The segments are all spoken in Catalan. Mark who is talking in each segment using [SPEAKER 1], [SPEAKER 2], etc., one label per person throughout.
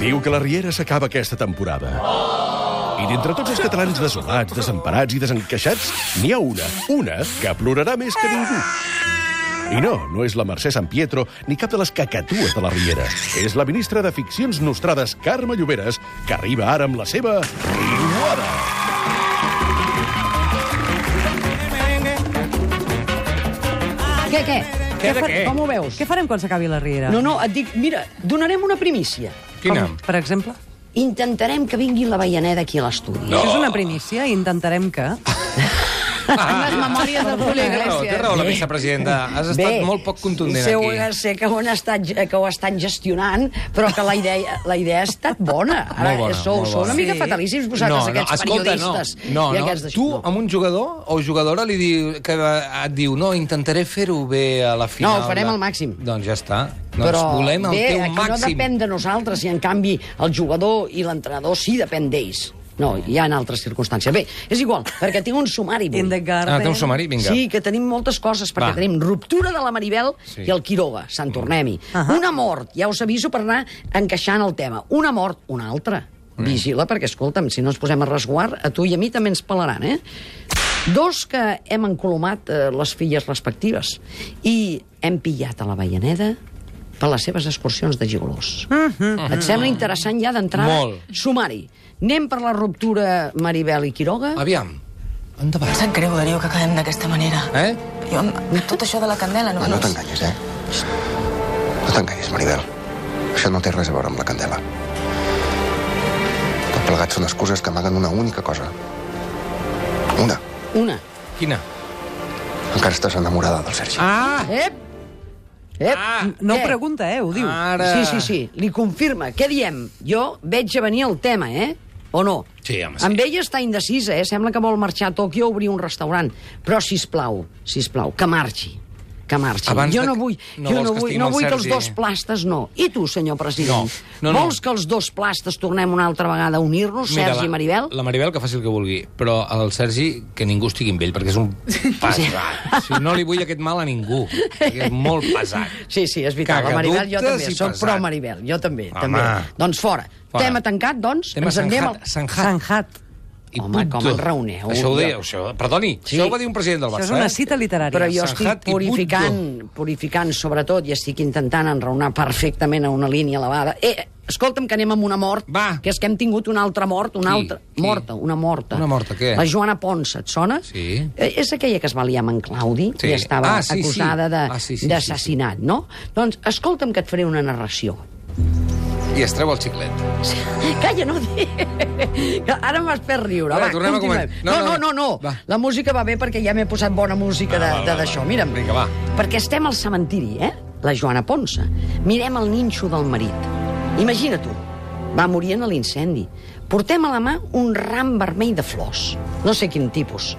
[SPEAKER 1] Diu que la Riera s'acaba aquesta temporada. I d'entre tots els catalans desolats, desemparats i desencaixats, n'hi ha una, una, que plorarà més que ningú. I no, no és la Mercè San Pietro ni cap de les cacatues de la Riera. És la ministra de Ficcions Nostrades, Carme Lloberes, que arriba ara amb la seva Riuada.
[SPEAKER 2] Què, què?
[SPEAKER 3] Què de
[SPEAKER 2] fa-
[SPEAKER 3] què?
[SPEAKER 2] Com ho veus?
[SPEAKER 4] Què farem quan s'acabi la riera?
[SPEAKER 2] No, no, et dic, mira, donarem una primícia.
[SPEAKER 3] Quina?
[SPEAKER 4] Com, per exemple?
[SPEAKER 2] Intentarem que vingui la Veianeda aquí a l'estudi.
[SPEAKER 4] No. Això és una primícia i intentarem que...
[SPEAKER 5] Les memòries del Julio
[SPEAKER 3] Té raó, Ah, té
[SPEAKER 5] Iglesias.
[SPEAKER 3] raó la vicepresidenta. Has estat molt poc contundent
[SPEAKER 2] sé,
[SPEAKER 3] aquí.
[SPEAKER 2] Sé que ho, han estat, que ho estan gestionant, però que la idea, la idea ha estat bona. Ara,
[SPEAKER 3] Molt bona,
[SPEAKER 2] sou,
[SPEAKER 3] molt
[SPEAKER 2] sou una
[SPEAKER 3] bona.
[SPEAKER 2] mica
[SPEAKER 5] Sí.
[SPEAKER 2] fatalíssims vosaltres, aquests periodistes.
[SPEAKER 3] no,
[SPEAKER 2] i
[SPEAKER 3] no,
[SPEAKER 2] aquests
[SPEAKER 3] no.
[SPEAKER 2] d'això.
[SPEAKER 3] Tu,
[SPEAKER 2] No.
[SPEAKER 3] amb un jugador o jugadora li diu, que eh, et diu no, intentaré fer-ho bé a la final.
[SPEAKER 2] No, ho farem
[SPEAKER 3] de-"
[SPEAKER 2] al màxim.
[SPEAKER 3] Doncs ja està. Doncs Però, volem el
[SPEAKER 2] bé,
[SPEAKER 3] teu
[SPEAKER 2] aquí no
[SPEAKER 3] màxim.
[SPEAKER 2] depèn de nosaltres, i en canvi el jugador i l'entrenador sí depèn d'ells. No, hi ha en altres circumstàncies. Bé, és igual, perquè tinc un sumari. avui.
[SPEAKER 4] In the garden...
[SPEAKER 3] Ah, té un sumari, vinga.
[SPEAKER 2] Sí, que tenim moltes coses, perquè
[SPEAKER 3] Va.
[SPEAKER 2] tenim ruptura de la Maribel
[SPEAKER 3] Sí.
[SPEAKER 2] sí. i el Quiroga, Sant Tornem-hi. Una mort, ja us aviso per anar encaixant el tema. Una mort, una altra.
[SPEAKER 3] Mm.
[SPEAKER 2] Vigila, perquè, escolta'm, si no ens posem a resguard, a tu i a mi també ens pelaran, eh? Dos que hem encolomat eh, les filles respectives i hem pillat a la Veianeda per les seves excursions de gigolós. Et sembla interessant ja d'entrada?
[SPEAKER 3] Mm. Molt.
[SPEAKER 2] Sumari. Anem per la ruptura Maribel i Quiroga?
[SPEAKER 3] Aviam, endavant.
[SPEAKER 6] Em sap greu, Darío, que acabem d'aquesta manera.
[SPEAKER 3] Eh?
[SPEAKER 6] Jo, amb tot això de la candela... No,
[SPEAKER 7] No, no t'enganyis, eh? No t'enganyis, Maribel. Això no té res a veure amb la candela. Tot plegat són excuses que amaguen una única cosa. Una.
[SPEAKER 2] Una.
[SPEAKER 3] Quina?
[SPEAKER 7] Encara estàs enamorada del Sergi.
[SPEAKER 3] Ah!
[SPEAKER 2] Ep! Ep!
[SPEAKER 3] Ah,
[SPEAKER 4] No ho
[SPEAKER 2] Eh.
[SPEAKER 4] pregunta, eh? Ho diu.
[SPEAKER 3] Ara...
[SPEAKER 2] Sí, sí, sí, li confirma. Què diem? Jo veig a venir el tema, eh? O no?
[SPEAKER 3] Sí, home, sí.
[SPEAKER 2] Amb ella està indecisa, eh? Sembla que vol marxar a Tòquio a obrir un restaurant. Però, si plau, si plau, que marxi. Que marxi.
[SPEAKER 3] Abans
[SPEAKER 2] jo
[SPEAKER 3] de-
[SPEAKER 2] no vull,
[SPEAKER 3] no
[SPEAKER 2] jo
[SPEAKER 3] vols
[SPEAKER 2] no
[SPEAKER 3] que
[SPEAKER 2] vull,
[SPEAKER 3] estigui
[SPEAKER 2] no
[SPEAKER 3] amb el
[SPEAKER 2] vull que els
[SPEAKER 3] Sergi.
[SPEAKER 2] dos plastes no. I tu, senyor president?
[SPEAKER 3] No, no, no.
[SPEAKER 2] Vols que els dos plastes tornem una altra vegada a unir-nos,
[SPEAKER 3] Mira,
[SPEAKER 2] Sergi i Maribel?
[SPEAKER 3] La Maribel que faci el que vulgui, però el Sergi que ningú estigui amb ell, perquè és un pesat. Si no li vull aquest mal a ningú, perquè és molt pesat.
[SPEAKER 2] Sí, sí, és vital.
[SPEAKER 3] Caga
[SPEAKER 2] la Maribel, jo
[SPEAKER 3] dubtes
[SPEAKER 2] també.
[SPEAKER 3] i
[SPEAKER 2] Soc
[SPEAKER 3] pesat.
[SPEAKER 2] pro Maribel, jo també.
[SPEAKER 3] Home.
[SPEAKER 2] també. Doncs fora.
[SPEAKER 3] Fora.
[SPEAKER 2] Tema tancat, doncs.
[SPEAKER 3] Tema
[SPEAKER 2] ens en anem
[SPEAKER 3] Sanjat.
[SPEAKER 2] al-
[SPEAKER 3] Sanjat.
[SPEAKER 4] Sanjat.
[SPEAKER 3] I
[SPEAKER 2] Home,
[SPEAKER 3] punto.
[SPEAKER 2] com en raoneu,
[SPEAKER 3] Això ho
[SPEAKER 2] jo.
[SPEAKER 3] deia, això, perdoni,
[SPEAKER 2] Sí.
[SPEAKER 3] això ho va dir un president del
[SPEAKER 4] Això
[SPEAKER 3] Barça.
[SPEAKER 4] és una
[SPEAKER 3] eh?
[SPEAKER 4] cita literària.
[SPEAKER 2] Però jo
[SPEAKER 3] Sanjat
[SPEAKER 2] estic
[SPEAKER 3] i
[SPEAKER 2] purificant, purificant sobretot, i estic intentant enraonar perfectament a una línia elevada. Eh, escolta'm, que anem amb una mort,
[SPEAKER 3] Va.
[SPEAKER 2] que és que hem tingut una altra mort, una
[SPEAKER 3] Qui?
[SPEAKER 2] altra...
[SPEAKER 3] Qui?
[SPEAKER 2] Morta, una morta.
[SPEAKER 3] Una morta, què?
[SPEAKER 2] La Joana Pons, et sona?
[SPEAKER 3] Sí.
[SPEAKER 2] Eh, és aquella que es va liar amb en Claudi
[SPEAKER 3] Sí.
[SPEAKER 2] i estava
[SPEAKER 3] Ah, sí, sí.
[SPEAKER 2] acusada de-
[SPEAKER 3] Ah, sí, sí, sí,
[SPEAKER 2] d'assassinat, sí, sí, sí. no? Doncs escolta'm que et faré una narració.
[SPEAKER 3] I es treu el xiclet.
[SPEAKER 2] Calla, no di... Que Ara m'has fet riure.
[SPEAKER 3] Vinga,
[SPEAKER 2] Va,
[SPEAKER 3] tornem a
[SPEAKER 2] continuem.
[SPEAKER 3] començar.
[SPEAKER 2] No, no, no, no.
[SPEAKER 3] Va.
[SPEAKER 2] La música va bé perquè ja m'he posat bona música de-
[SPEAKER 3] Ah, Va, va,
[SPEAKER 2] de-
[SPEAKER 3] va,
[SPEAKER 2] d'això.
[SPEAKER 3] va.
[SPEAKER 2] Mira'm.
[SPEAKER 3] Vinga, va.
[SPEAKER 2] Perquè estem al cementiri, eh? La Joana Ponsa. Mirem el ninxo del marit. Imagina tu. Va morir en l'incendi. Portem a la mà un ram vermell de flors. No sé quin tipus.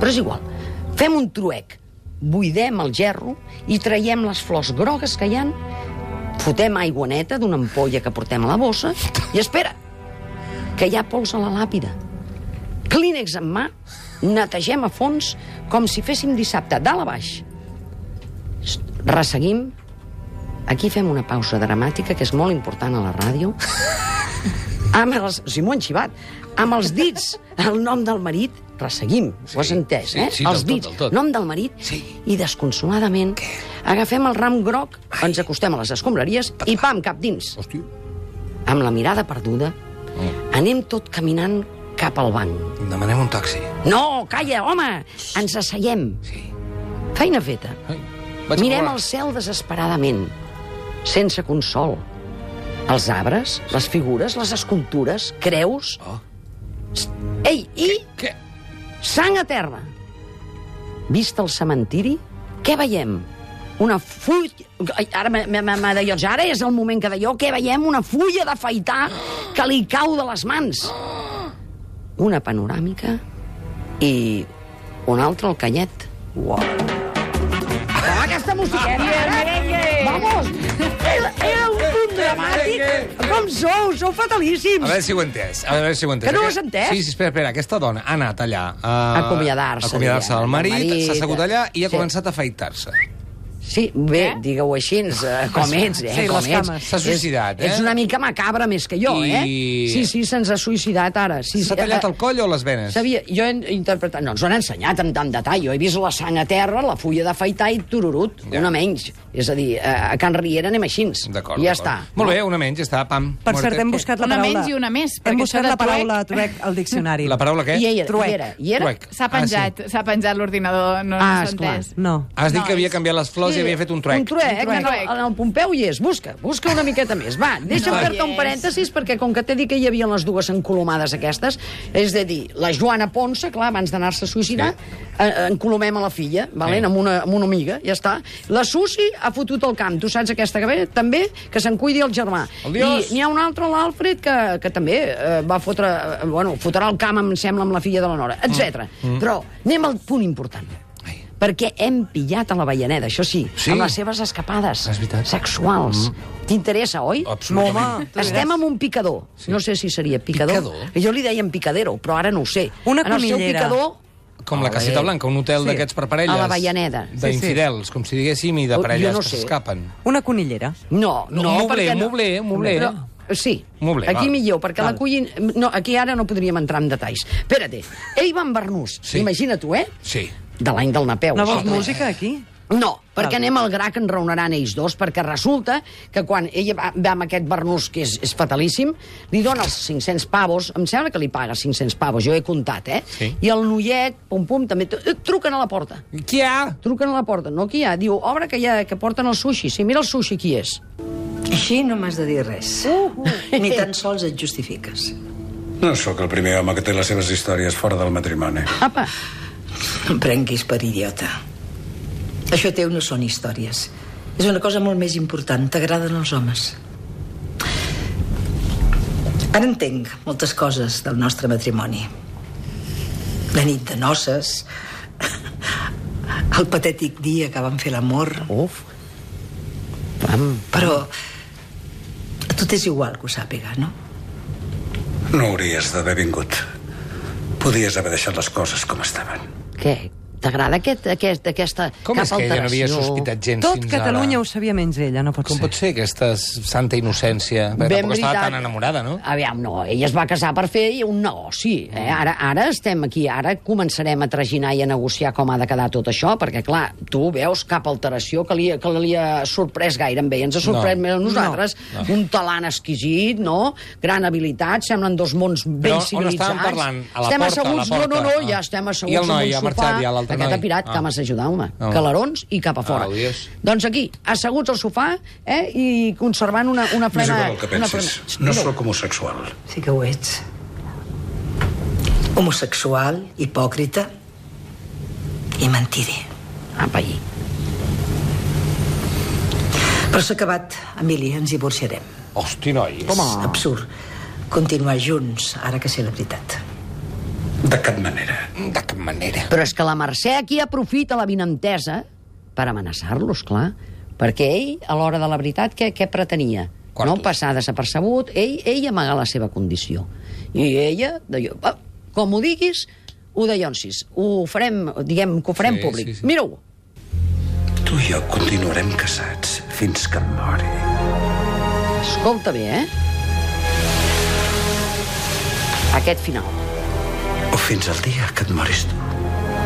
[SPEAKER 2] Però és igual. Fem un truec. Buidem el gerro i traiem les flors grogues que hi han Fotem aigua neta d'una ampolla que portem a la bossa i espera, que hi ha pols a la làpida. Clínex en mà, netegem a fons com si féssim dissabte, dalt a baix. S- Resseguim. Aquí fem una pausa dramàtica que és molt important a la ràdio. Amb els... Si m'ho han xivat. Amb els dits, el nom del marit, resseguim. Sí, Ho has entès,
[SPEAKER 3] sí,
[SPEAKER 2] eh?
[SPEAKER 3] sí, del
[SPEAKER 2] els
[SPEAKER 3] tot,
[SPEAKER 2] dits,
[SPEAKER 3] del tot.
[SPEAKER 2] nom del marit.
[SPEAKER 3] Sí.
[SPEAKER 2] I desconsoladament agafem el ram groc, ens acostem a les escombraries i pam, cap dins
[SPEAKER 3] Hòstia. Oh.
[SPEAKER 2] amb la mirada perduda, anem tot caminant cap al banc.
[SPEAKER 3] Demanem un taxi.
[SPEAKER 2] No, calla, home! Ens asseiem.
[SPEAKER 3] Sí.
[SPEAKER 2] Feina feta.
[SPEAKER 3] Ai, vaig
[SPEAKER 2] Mirem
[SPEAKER 3] a
[SPEAKER 2] el cel desesperadament, sense consol. Els arbres, les figures, les escultures, creus...
[SPEAKER 3] Oh.
[SPEAKER 2] Psst, Ei, i
[SPEAKER 3] Què?
[SPEAKER 2] sang a terra. Vist el cementiri, què veiem? Una fulla... Ai, Ara m'ha- m'ha m'ha de llotjar. Ara és el moment que d'allò. Què veiem? Una fulla d'afaitar que li cau de les mans. Una panoràmica i un altre al canyet. Uau. Però aquesta musiqueta, eh? Vamos! Era, era un punt dramàtic. Com sou? Sou
[SPEAKER 3] A
[SPEAKER 2] fatalíssims.
[SPEAKER 3] veure si ho he entès. A veure si ho he entès.
[SPEAKER 2] Que no ho has
[SPEAKER 3] Aquest-
[SPEAKER 2] entès?
[SPEAKER 3] Sí, sí, espera, espera. Aquesta dona ha anat allà... A
[SPEAKER 2] Acomiadar-se,
[SPEAKER 3] Acomiadar-se
[SPEAKER 2] diguem,
[SPEAKER 3] del
[SPEAKER 2] del
[SPEAKER 3] marit,
[SPEAKER 2] marit, eh.
[SPEAKER 3] s'ha assegut allà i ha
[SPEAKER 2] sí.
[SPEAKER 3] començat a afaitar-se.
[SPEAKER 2] Sí, bé, eh? digue-ho així, eh, com ets, eh?
[SPEAKER 4] Sí,
[SPEAKER 2] com
[SPEAKER 4] les
[SPEAKER 2] ets.
[SPEAKER 4] cames.
[SPEAKER 3] S'ha suïcidat, eh?
[SPEAKER 2] Ets una mica macabra més que jo,
[SPEAKER 3] I-
[SPEAKER 2] eh? Sí, sí, se'ns ha suïcidat ara. Sí,
[SPEAKER 3] S'ha
[SPEAKER 2] sí,
[SPEAKER 3] tallat
[SPEAKER 2] eh,
[SPEAKER 3] el coll o les venes?
[SPEAKER 2] Sabia, jo he interpretat... No, ens ho han ensenyat amb tant detall. Jo he vist la sang a terra, la fulla d'afaitar i tururut,
[SPEAKER 3] Ja.
[SPEAKER 2] ja. una menys. És a dir, eh, a Can Riera anem així.
[SPEAKER 3] D'acord.
[SPEAKER 2] I ja
[SPEAKER 3] d'acord.
[SPEAKER 2] està.
[SPEAKER 3] Molt bé, una menys, ja està, pam.
[SPEAKER 4] Per
[SPEAKER 3] Muerte.
[SPEAKER 4] cert, hem buscat la
[SPEAKER 5] Una
[SPEAKER 4] paraula...
[SPEAKER 5] menys i una més, perquè
[SPEAKER 4] Hem
[SPEAKER 5] això
[SPEAKER 4] buscat
[SPEAKER 5] de
[SPEAKER 4] la paraula
[SPEAKER 5] truec-
[SPEAKER 4] truec al diccionari.
[SPEAKER 3] La paraula què?
[SPEAKER 2] I ella,
[SPEAKER 4] Truec.
[SPEAKER 2] hi era, hi era?
[SPEAKER 3] Truec.
[SPEAKER 5] S'ha penjat, s'ha penjat l'ordinador, no
[SPEAKER 2] Ah,
[SPEAKER 5] s'ha
[SPEAKER 2] esclar.
[SPEAKER 5] entès.
[SPEAKER 4] No.
[SPEAKER 3] Has dit
[SPEAKER 5] No,
[SPEAKER 3] que havia
[SPEAKER 5] és-
[SPEAKER 3] canviat les flors i havia fet un truec.
[SPEAKER 2] Un truec,
[SPEAKER 5] Un truec.
[SPEAKER 2] En, el, en el Pompeu hi és. Busca, busca una miqueta més. Va, deixa'm
[SPEAKER 5] No hi
[SPEAKER 2] fer-te un
[SPEAKER 5] és.
[SPEAKER 2] parèntesis, perquè com que t'he dit que hi havia les dues encolomades aquestes, és de dir, la Joana Ponsa, clar, abans d'anar-se a suïcidar, sí. encolomem a la filla, valent,
[SPEAKER 3] Sí.
[SPEAKER 2] amb, una, amb una amiga, ja està. La Susi ha fotut el camp, tu saps aquesta que ve? També, que se'n cuidi el germà.
[SPEAKER 3] Adiós.
[SPEAKER 2] I n'hi ha un altre, l'Alfred, que, que també eh, va fotre, eh, bueno, fotrà el camp, em sembla, amb la filla de la Nora, etc. Mm. Però anem al punt important perquè hem pillat a la Veianeda, això sí,
[SPEAKER 3] Sí. Ah,
[SPEAKER 2] amb les seves escapades
[SPEAKER 3] És veritat. Mm.
[SPEAKER 2] sexuals. T'interessa, oi?
[SPEAKER 3] Absolutament.
[SPEAKER 4] tu
[SPEAKER 2] Estem
[SPEAKER 4] diràs.
[SPEAKER 2] amb un picador. Sí. No sé si seria picador.
[SPEAKER 3] Picador?
[SPEAKER 2] Jo li deien picadero, però ara no ho sé.
[SPEAKER 4] Una
[SPEAKER 2] en el seu
[SPEAKER 4] conillera.
[SPEAKER 2] picador...
[SPEAKER 3] Com la
[SPEAKER 2] Ole.
[SPEAKER 3] Caseta Blanca, un hotel
[SPEAKER 4] Sí.
[SPEAKER 3] d'aquests per parelles.
[SPEAKER 2] A la Avellaneda. Oh,
[SPEAKER 3] D'infidels, com si diguéssim, i de
[SPEAKER 2] Jo
[SPEAKER 3] parelles
[SPEAKER 2] no
[SPEAKER 3] que
[SPEAKER 2] sé.
[SPEAKER 3] s'escapen.
[SPEAKER 4] Una conillera.
[SPEAKER 2] No,
[SPEAKER 3] No,
[SPEAKER 2] no,
[SPEAKER 3] mobler,
[SPEAKER 2] perquè no.
[SPEAKER 3] mobler, mobler.
[SPEAKER 2] No, sí,
[SPEAKER 3] Mobler,
[SPEAKER 2] aquí
[SPEAKER 3] val.
[SPEAKER 2] millor, perquè
[SPEAKER 3] Val.
[SPEAKER 2] la cullin... No, aquí ara no podríem entrar en detalls. Espera't, Ivan Bernús, sí.
[SPEAKER 3] Sí.
[SPEAKER 2] imagina tu, eh?
[SPEAKER 3] Sí.
[SPEAKER 2] De l'any del Napeu.
[SPEAKER 4] No vols
[SPEAKER 2] Sí.
[SPEAKER 4] música, aquí?
[SPEAKER 2] No, perquè
[SPEAKER 3] Ah,
[SPEAKER 4] Val.
[SPEAKER 2] anem al gra que en raonaran ells dos, perquè resulta que quan ella va, va amb aquest Bernús, que és, és fatalíssim, li dona els 500 pavos, em sembla que li paga 500 pavos, jo he comptat, eh?
[SPEAKER 3] Sí.
[SPEAKER 2] I el noiet, pum, pum, també... eh, Truquen a la porta,
[SPEAKER 3] Qui hi ha?
[SPEAKER 2] truquen a la porta, no qui hi ha, diu, obre que, hi ha, que porten el sushi, sí, mira el sushi qui és.
[SPEAKER 8] Així no m'has de dir res. Uh
[SPEAKER 2] Uh-huh.
[SPEAKER 8] -huh. Ni tan sols et justifiques.
[SPEAKER 9] No sóc el primer home que té les seves històries fora del matrimoni.
[SPEAKER 2] Apa,
[SPEAKER 8] No em prenguis per idiota. Això teu no són històries. És una cosa molt més important. T'agraden els homes. Ara entenc moltes coses del nostre matrimoni. La nit de noces, el patètic dia que vam fer l'amor...
[SPEAKER 2] uf, pam,
[SPEAKER 8] Però a tu t'és igual que ho sàpiga, no?
[SPEAKER 9] No hauries d'haver vingut. Podies haver deixat les coses com estaven.
[SPEAKER 2] què? T'agrada aquest, aquest, aquesta
[SPEAKER 3] Com
[SPEAKER 2] cap
[SPEAKER 3] és que ella no havia
[SPEAKER 2] alteració?
[SPEAKER 3] sospitat gens
[SPEAKER 4] Tot
[SPEAKER 3] fins
[SPEAKER 4] Catalunya
[SPEAKER 3] ara?
[SPEAKER 4] ho sabia menys ella, no pot
[SPEAKER 3] Com
[SPEAKER 4] ser.
[SPEAKER 3] pot ser aquesta santa innocència? Bé,
[SPEAKER 2] Ben
[SPEAKER 3] tampoc estava
[SPEAKER 2] veritat.
[SPEAKER 3] tan enamorada, no?
[SPEAKER 2] Aviam, no, ella es va casar per fer un negoci. Eh?
[SPEAKER 3] Mm.
[SPEAKER 2] Ara, ara estem aquí, ara començarem a traginar i a negociar com ha de quedar tot això, perquè, clar, tu veus cap alteració que li, que li ha sorprès gaire amb ell. Ens ha sorprès no.
[SPEAKER 3] No.
[SPEAKER 2] més a nosaltres. No. Un talent exquisit, no? Gran habilitat, semblen dos mons ben
[SPEAKER 3] Però on
[SPEAKER 2] civilitzats.
[SPEAKER 3] estàvem parlant? A
[SPEAKER 2] estem
[SPEAKER 3] la porta, a la
[SPEAKER 2] asseguts,
[SPEAKER 3] porta.
[SPEAKER 2] no, no, no,
[SPEAKER 3] Ah.
[SPEAKER 2] ja estem asseguts
[SPEAKER 3] I el noi,
[SPEAKER 2] en un
[SPEAKER 3] ha marxat
[SPEAKER 2] sofà.
[SPEAKER 3] ja, l'altre
[SPEAKER 2] Aquest
[SPEAKER 3] noi?
[SPEAKER 2] ha pirat,
[SPEAKER 3] Ah.
[SPEAKER 2] que m'has ajudat, home.
[SPEAKER 3] Ah.
[SPEAKER 2] Calarons i cap a fora.
[SPEAKER 3] Ah, odies.
[SPEAKER 2] doncs aquí, asseguts al sofà eh, i conservant una, una
[SPEAKER 9] M'és
[SPEAKER 2] plena...
[SPEAKER 9] igual el que
[SPEAKER 2] una
[SPEAKER 9] pensis.
[SPEAKER 2] plena-
[SPEAKER 9] No sóc homosexual.
[SPEAKER 8] Sí que ho ets. Homosexual, hipòcrita i mentider.
[SPEAKER 2] Apa, allí.
[SPEAKER 8] Però s'ha acabat, Emili, ens divorciarem.
[SPEAKER 3] Hosti, noi.
[SPEAKER 8] És absurd continuar junts, ara que sé la veritat.
[SPEAKER 9] De cap manera.
[SPEAKER 3] De cap manera.
[SPEAKER 2] Però és que la Mercè aquí aprofita la vinentesa per amenaçar-los, clar. Perquè ell, a l'hora de la veritat, què, què pretenia?
[SPEAKER 3] Quarto.
[SPEAKER 2] No passar desapercebut, ell, ell amagar la seva condició. I ella, deia, "Ah, com ho diguis, ho deiòncis. Ho farem, diguem que ho farem
[SPEAKER 3] Sí,
[SPEAKER 2] públic.
[SPEAKER 3] sí, sí.
[SPEAKER 2] Mira-ho.
[SPEAKER 9] Tu i jo continuarem casats fins que em mori.
[SPEAKER 2] Escolta bé, eh? Aquest final.
[SPEAKER 9] O fins al dia que et moris tu.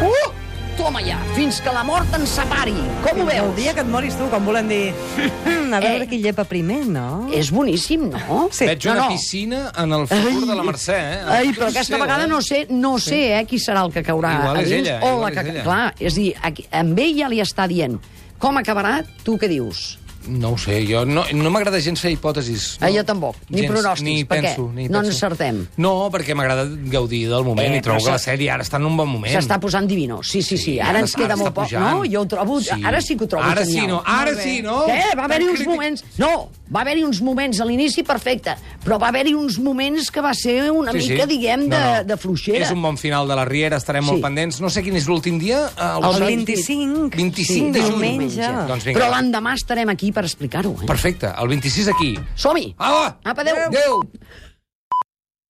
[SPEAKER 2] Uh! Toma ja, fins que la mort ens separi. Com ho
[SPEAKER 4] El
[SPEAKER 2] veus?
[SPEAKER 4] dia que et moris tu, com volen dir... "Hmm, A
[SPEAKER 5] Eh.
[SPEAKER 4] veure qui llepa primer, no?
[SPEAKER 2] És boníssim, no?
[SPEAKER 4] Sí.
[SPEAKER 3] Veig
[SPEAKER 2] No,
[SPEAKER 3] una
[SPEAKER 2] no.
[SPEAKER 3] piscina en el futur de la Mercè, eh?
[SPEAKER 2] Ai, però aquesta vegada no sé, no sé eh, qui serà el que caurà
[SPEAKER 3] Igual
[SPEAKER 2] a
[SPEAKER 3] és
[SPEAKER 2] dins.
[SPEAKER 3] ella,
[SPEAKER 2] o
[SPEAKER 3] igual
[SPEAKER 2] la
[SPEAKER 3] és
[SPEAKER 2] que...
[SPEAKER 3] ella.
[SPEAKER 2] Clar, és a dir, aquí, amb ell ja li està dient com acabarà, tu què dius?
[SPEAKER 3] No ho sé, jo no, no m'agrada gens fer hipòtesis. No.
[SPEAKER 2] Ah, jo tampoc. Ni pronòstics,
[SPEAKER 3] ni
[SPEAKER 2] per què?
[SPEAKER 3] penso, Ni
[SPEAKER 2] No
[SPEAKER 3] penso.
[SPEAKER 2] encertem.
[SPEAKER 3] No, perquè m'agrada gaudir del moment
[SPEAKER 2] Eh,
[SPEAKER 3] i trobo
[SPEAKER 2] però
[SPEAKER 3] que la
[SPEAKER 2] s'ha-
[SPEAKER 3] sèrie ara està en un bon moment.
[SPEAKER 2] S'està posant divino. Sí, sí, sí. Ara ens queda
[SPEAKER 3] està
[SPEAKER 2] molt poc.
[SPEAKER 3] pujant.
[SPEAKER 2] No, jo ho trobo... Ara sí que ho trobo
[SPEAKER 3] Ara
[SPEAKER 2] genial.
[SPEAKER 3] sí, no. Ara sí, no.
[SPEAKER 2] Què? Va haver-hi uns
[SPEAKER 3] Crític.
[SPEAKER 2] moments... No, va haver-hi uns moments a l'inici perfecte, però va haver-hi uns moments que va ser una
[SPEAKER 3] Sí, sí.
[SPEAKER 2] mica, diguem, de,
[SPEAKER 3] No, no.
[SPEAKER 2] de fluixera.
[SPEAKER 3] És un bon final de la Riera, estarem
[SPEAKER 2] Sí.
[SPEAKER 3] molt pendents. No sé quin és l'últim dia. eh, El,
[SPEAKER 4] El
[SPEAKER 2] Sí.
[SPEAKER 4] 25.
[SPEAKER 3] 25 de juny.
[SPEAKER 4] Diumenge.
[SPEAKER 3] Doncs vinga.
[SPEAKER 2] Però l'endemà estarem aquí per explicar-ho, eh?
[SPEAKER 3] Perfecte, el 26 aquí.
[SPEAKER 2] Som-hi!
[SPEAKER 3] Apa!
[SPEAKER 2] Apa, adéu!
[SPEAKER 3] Adéu!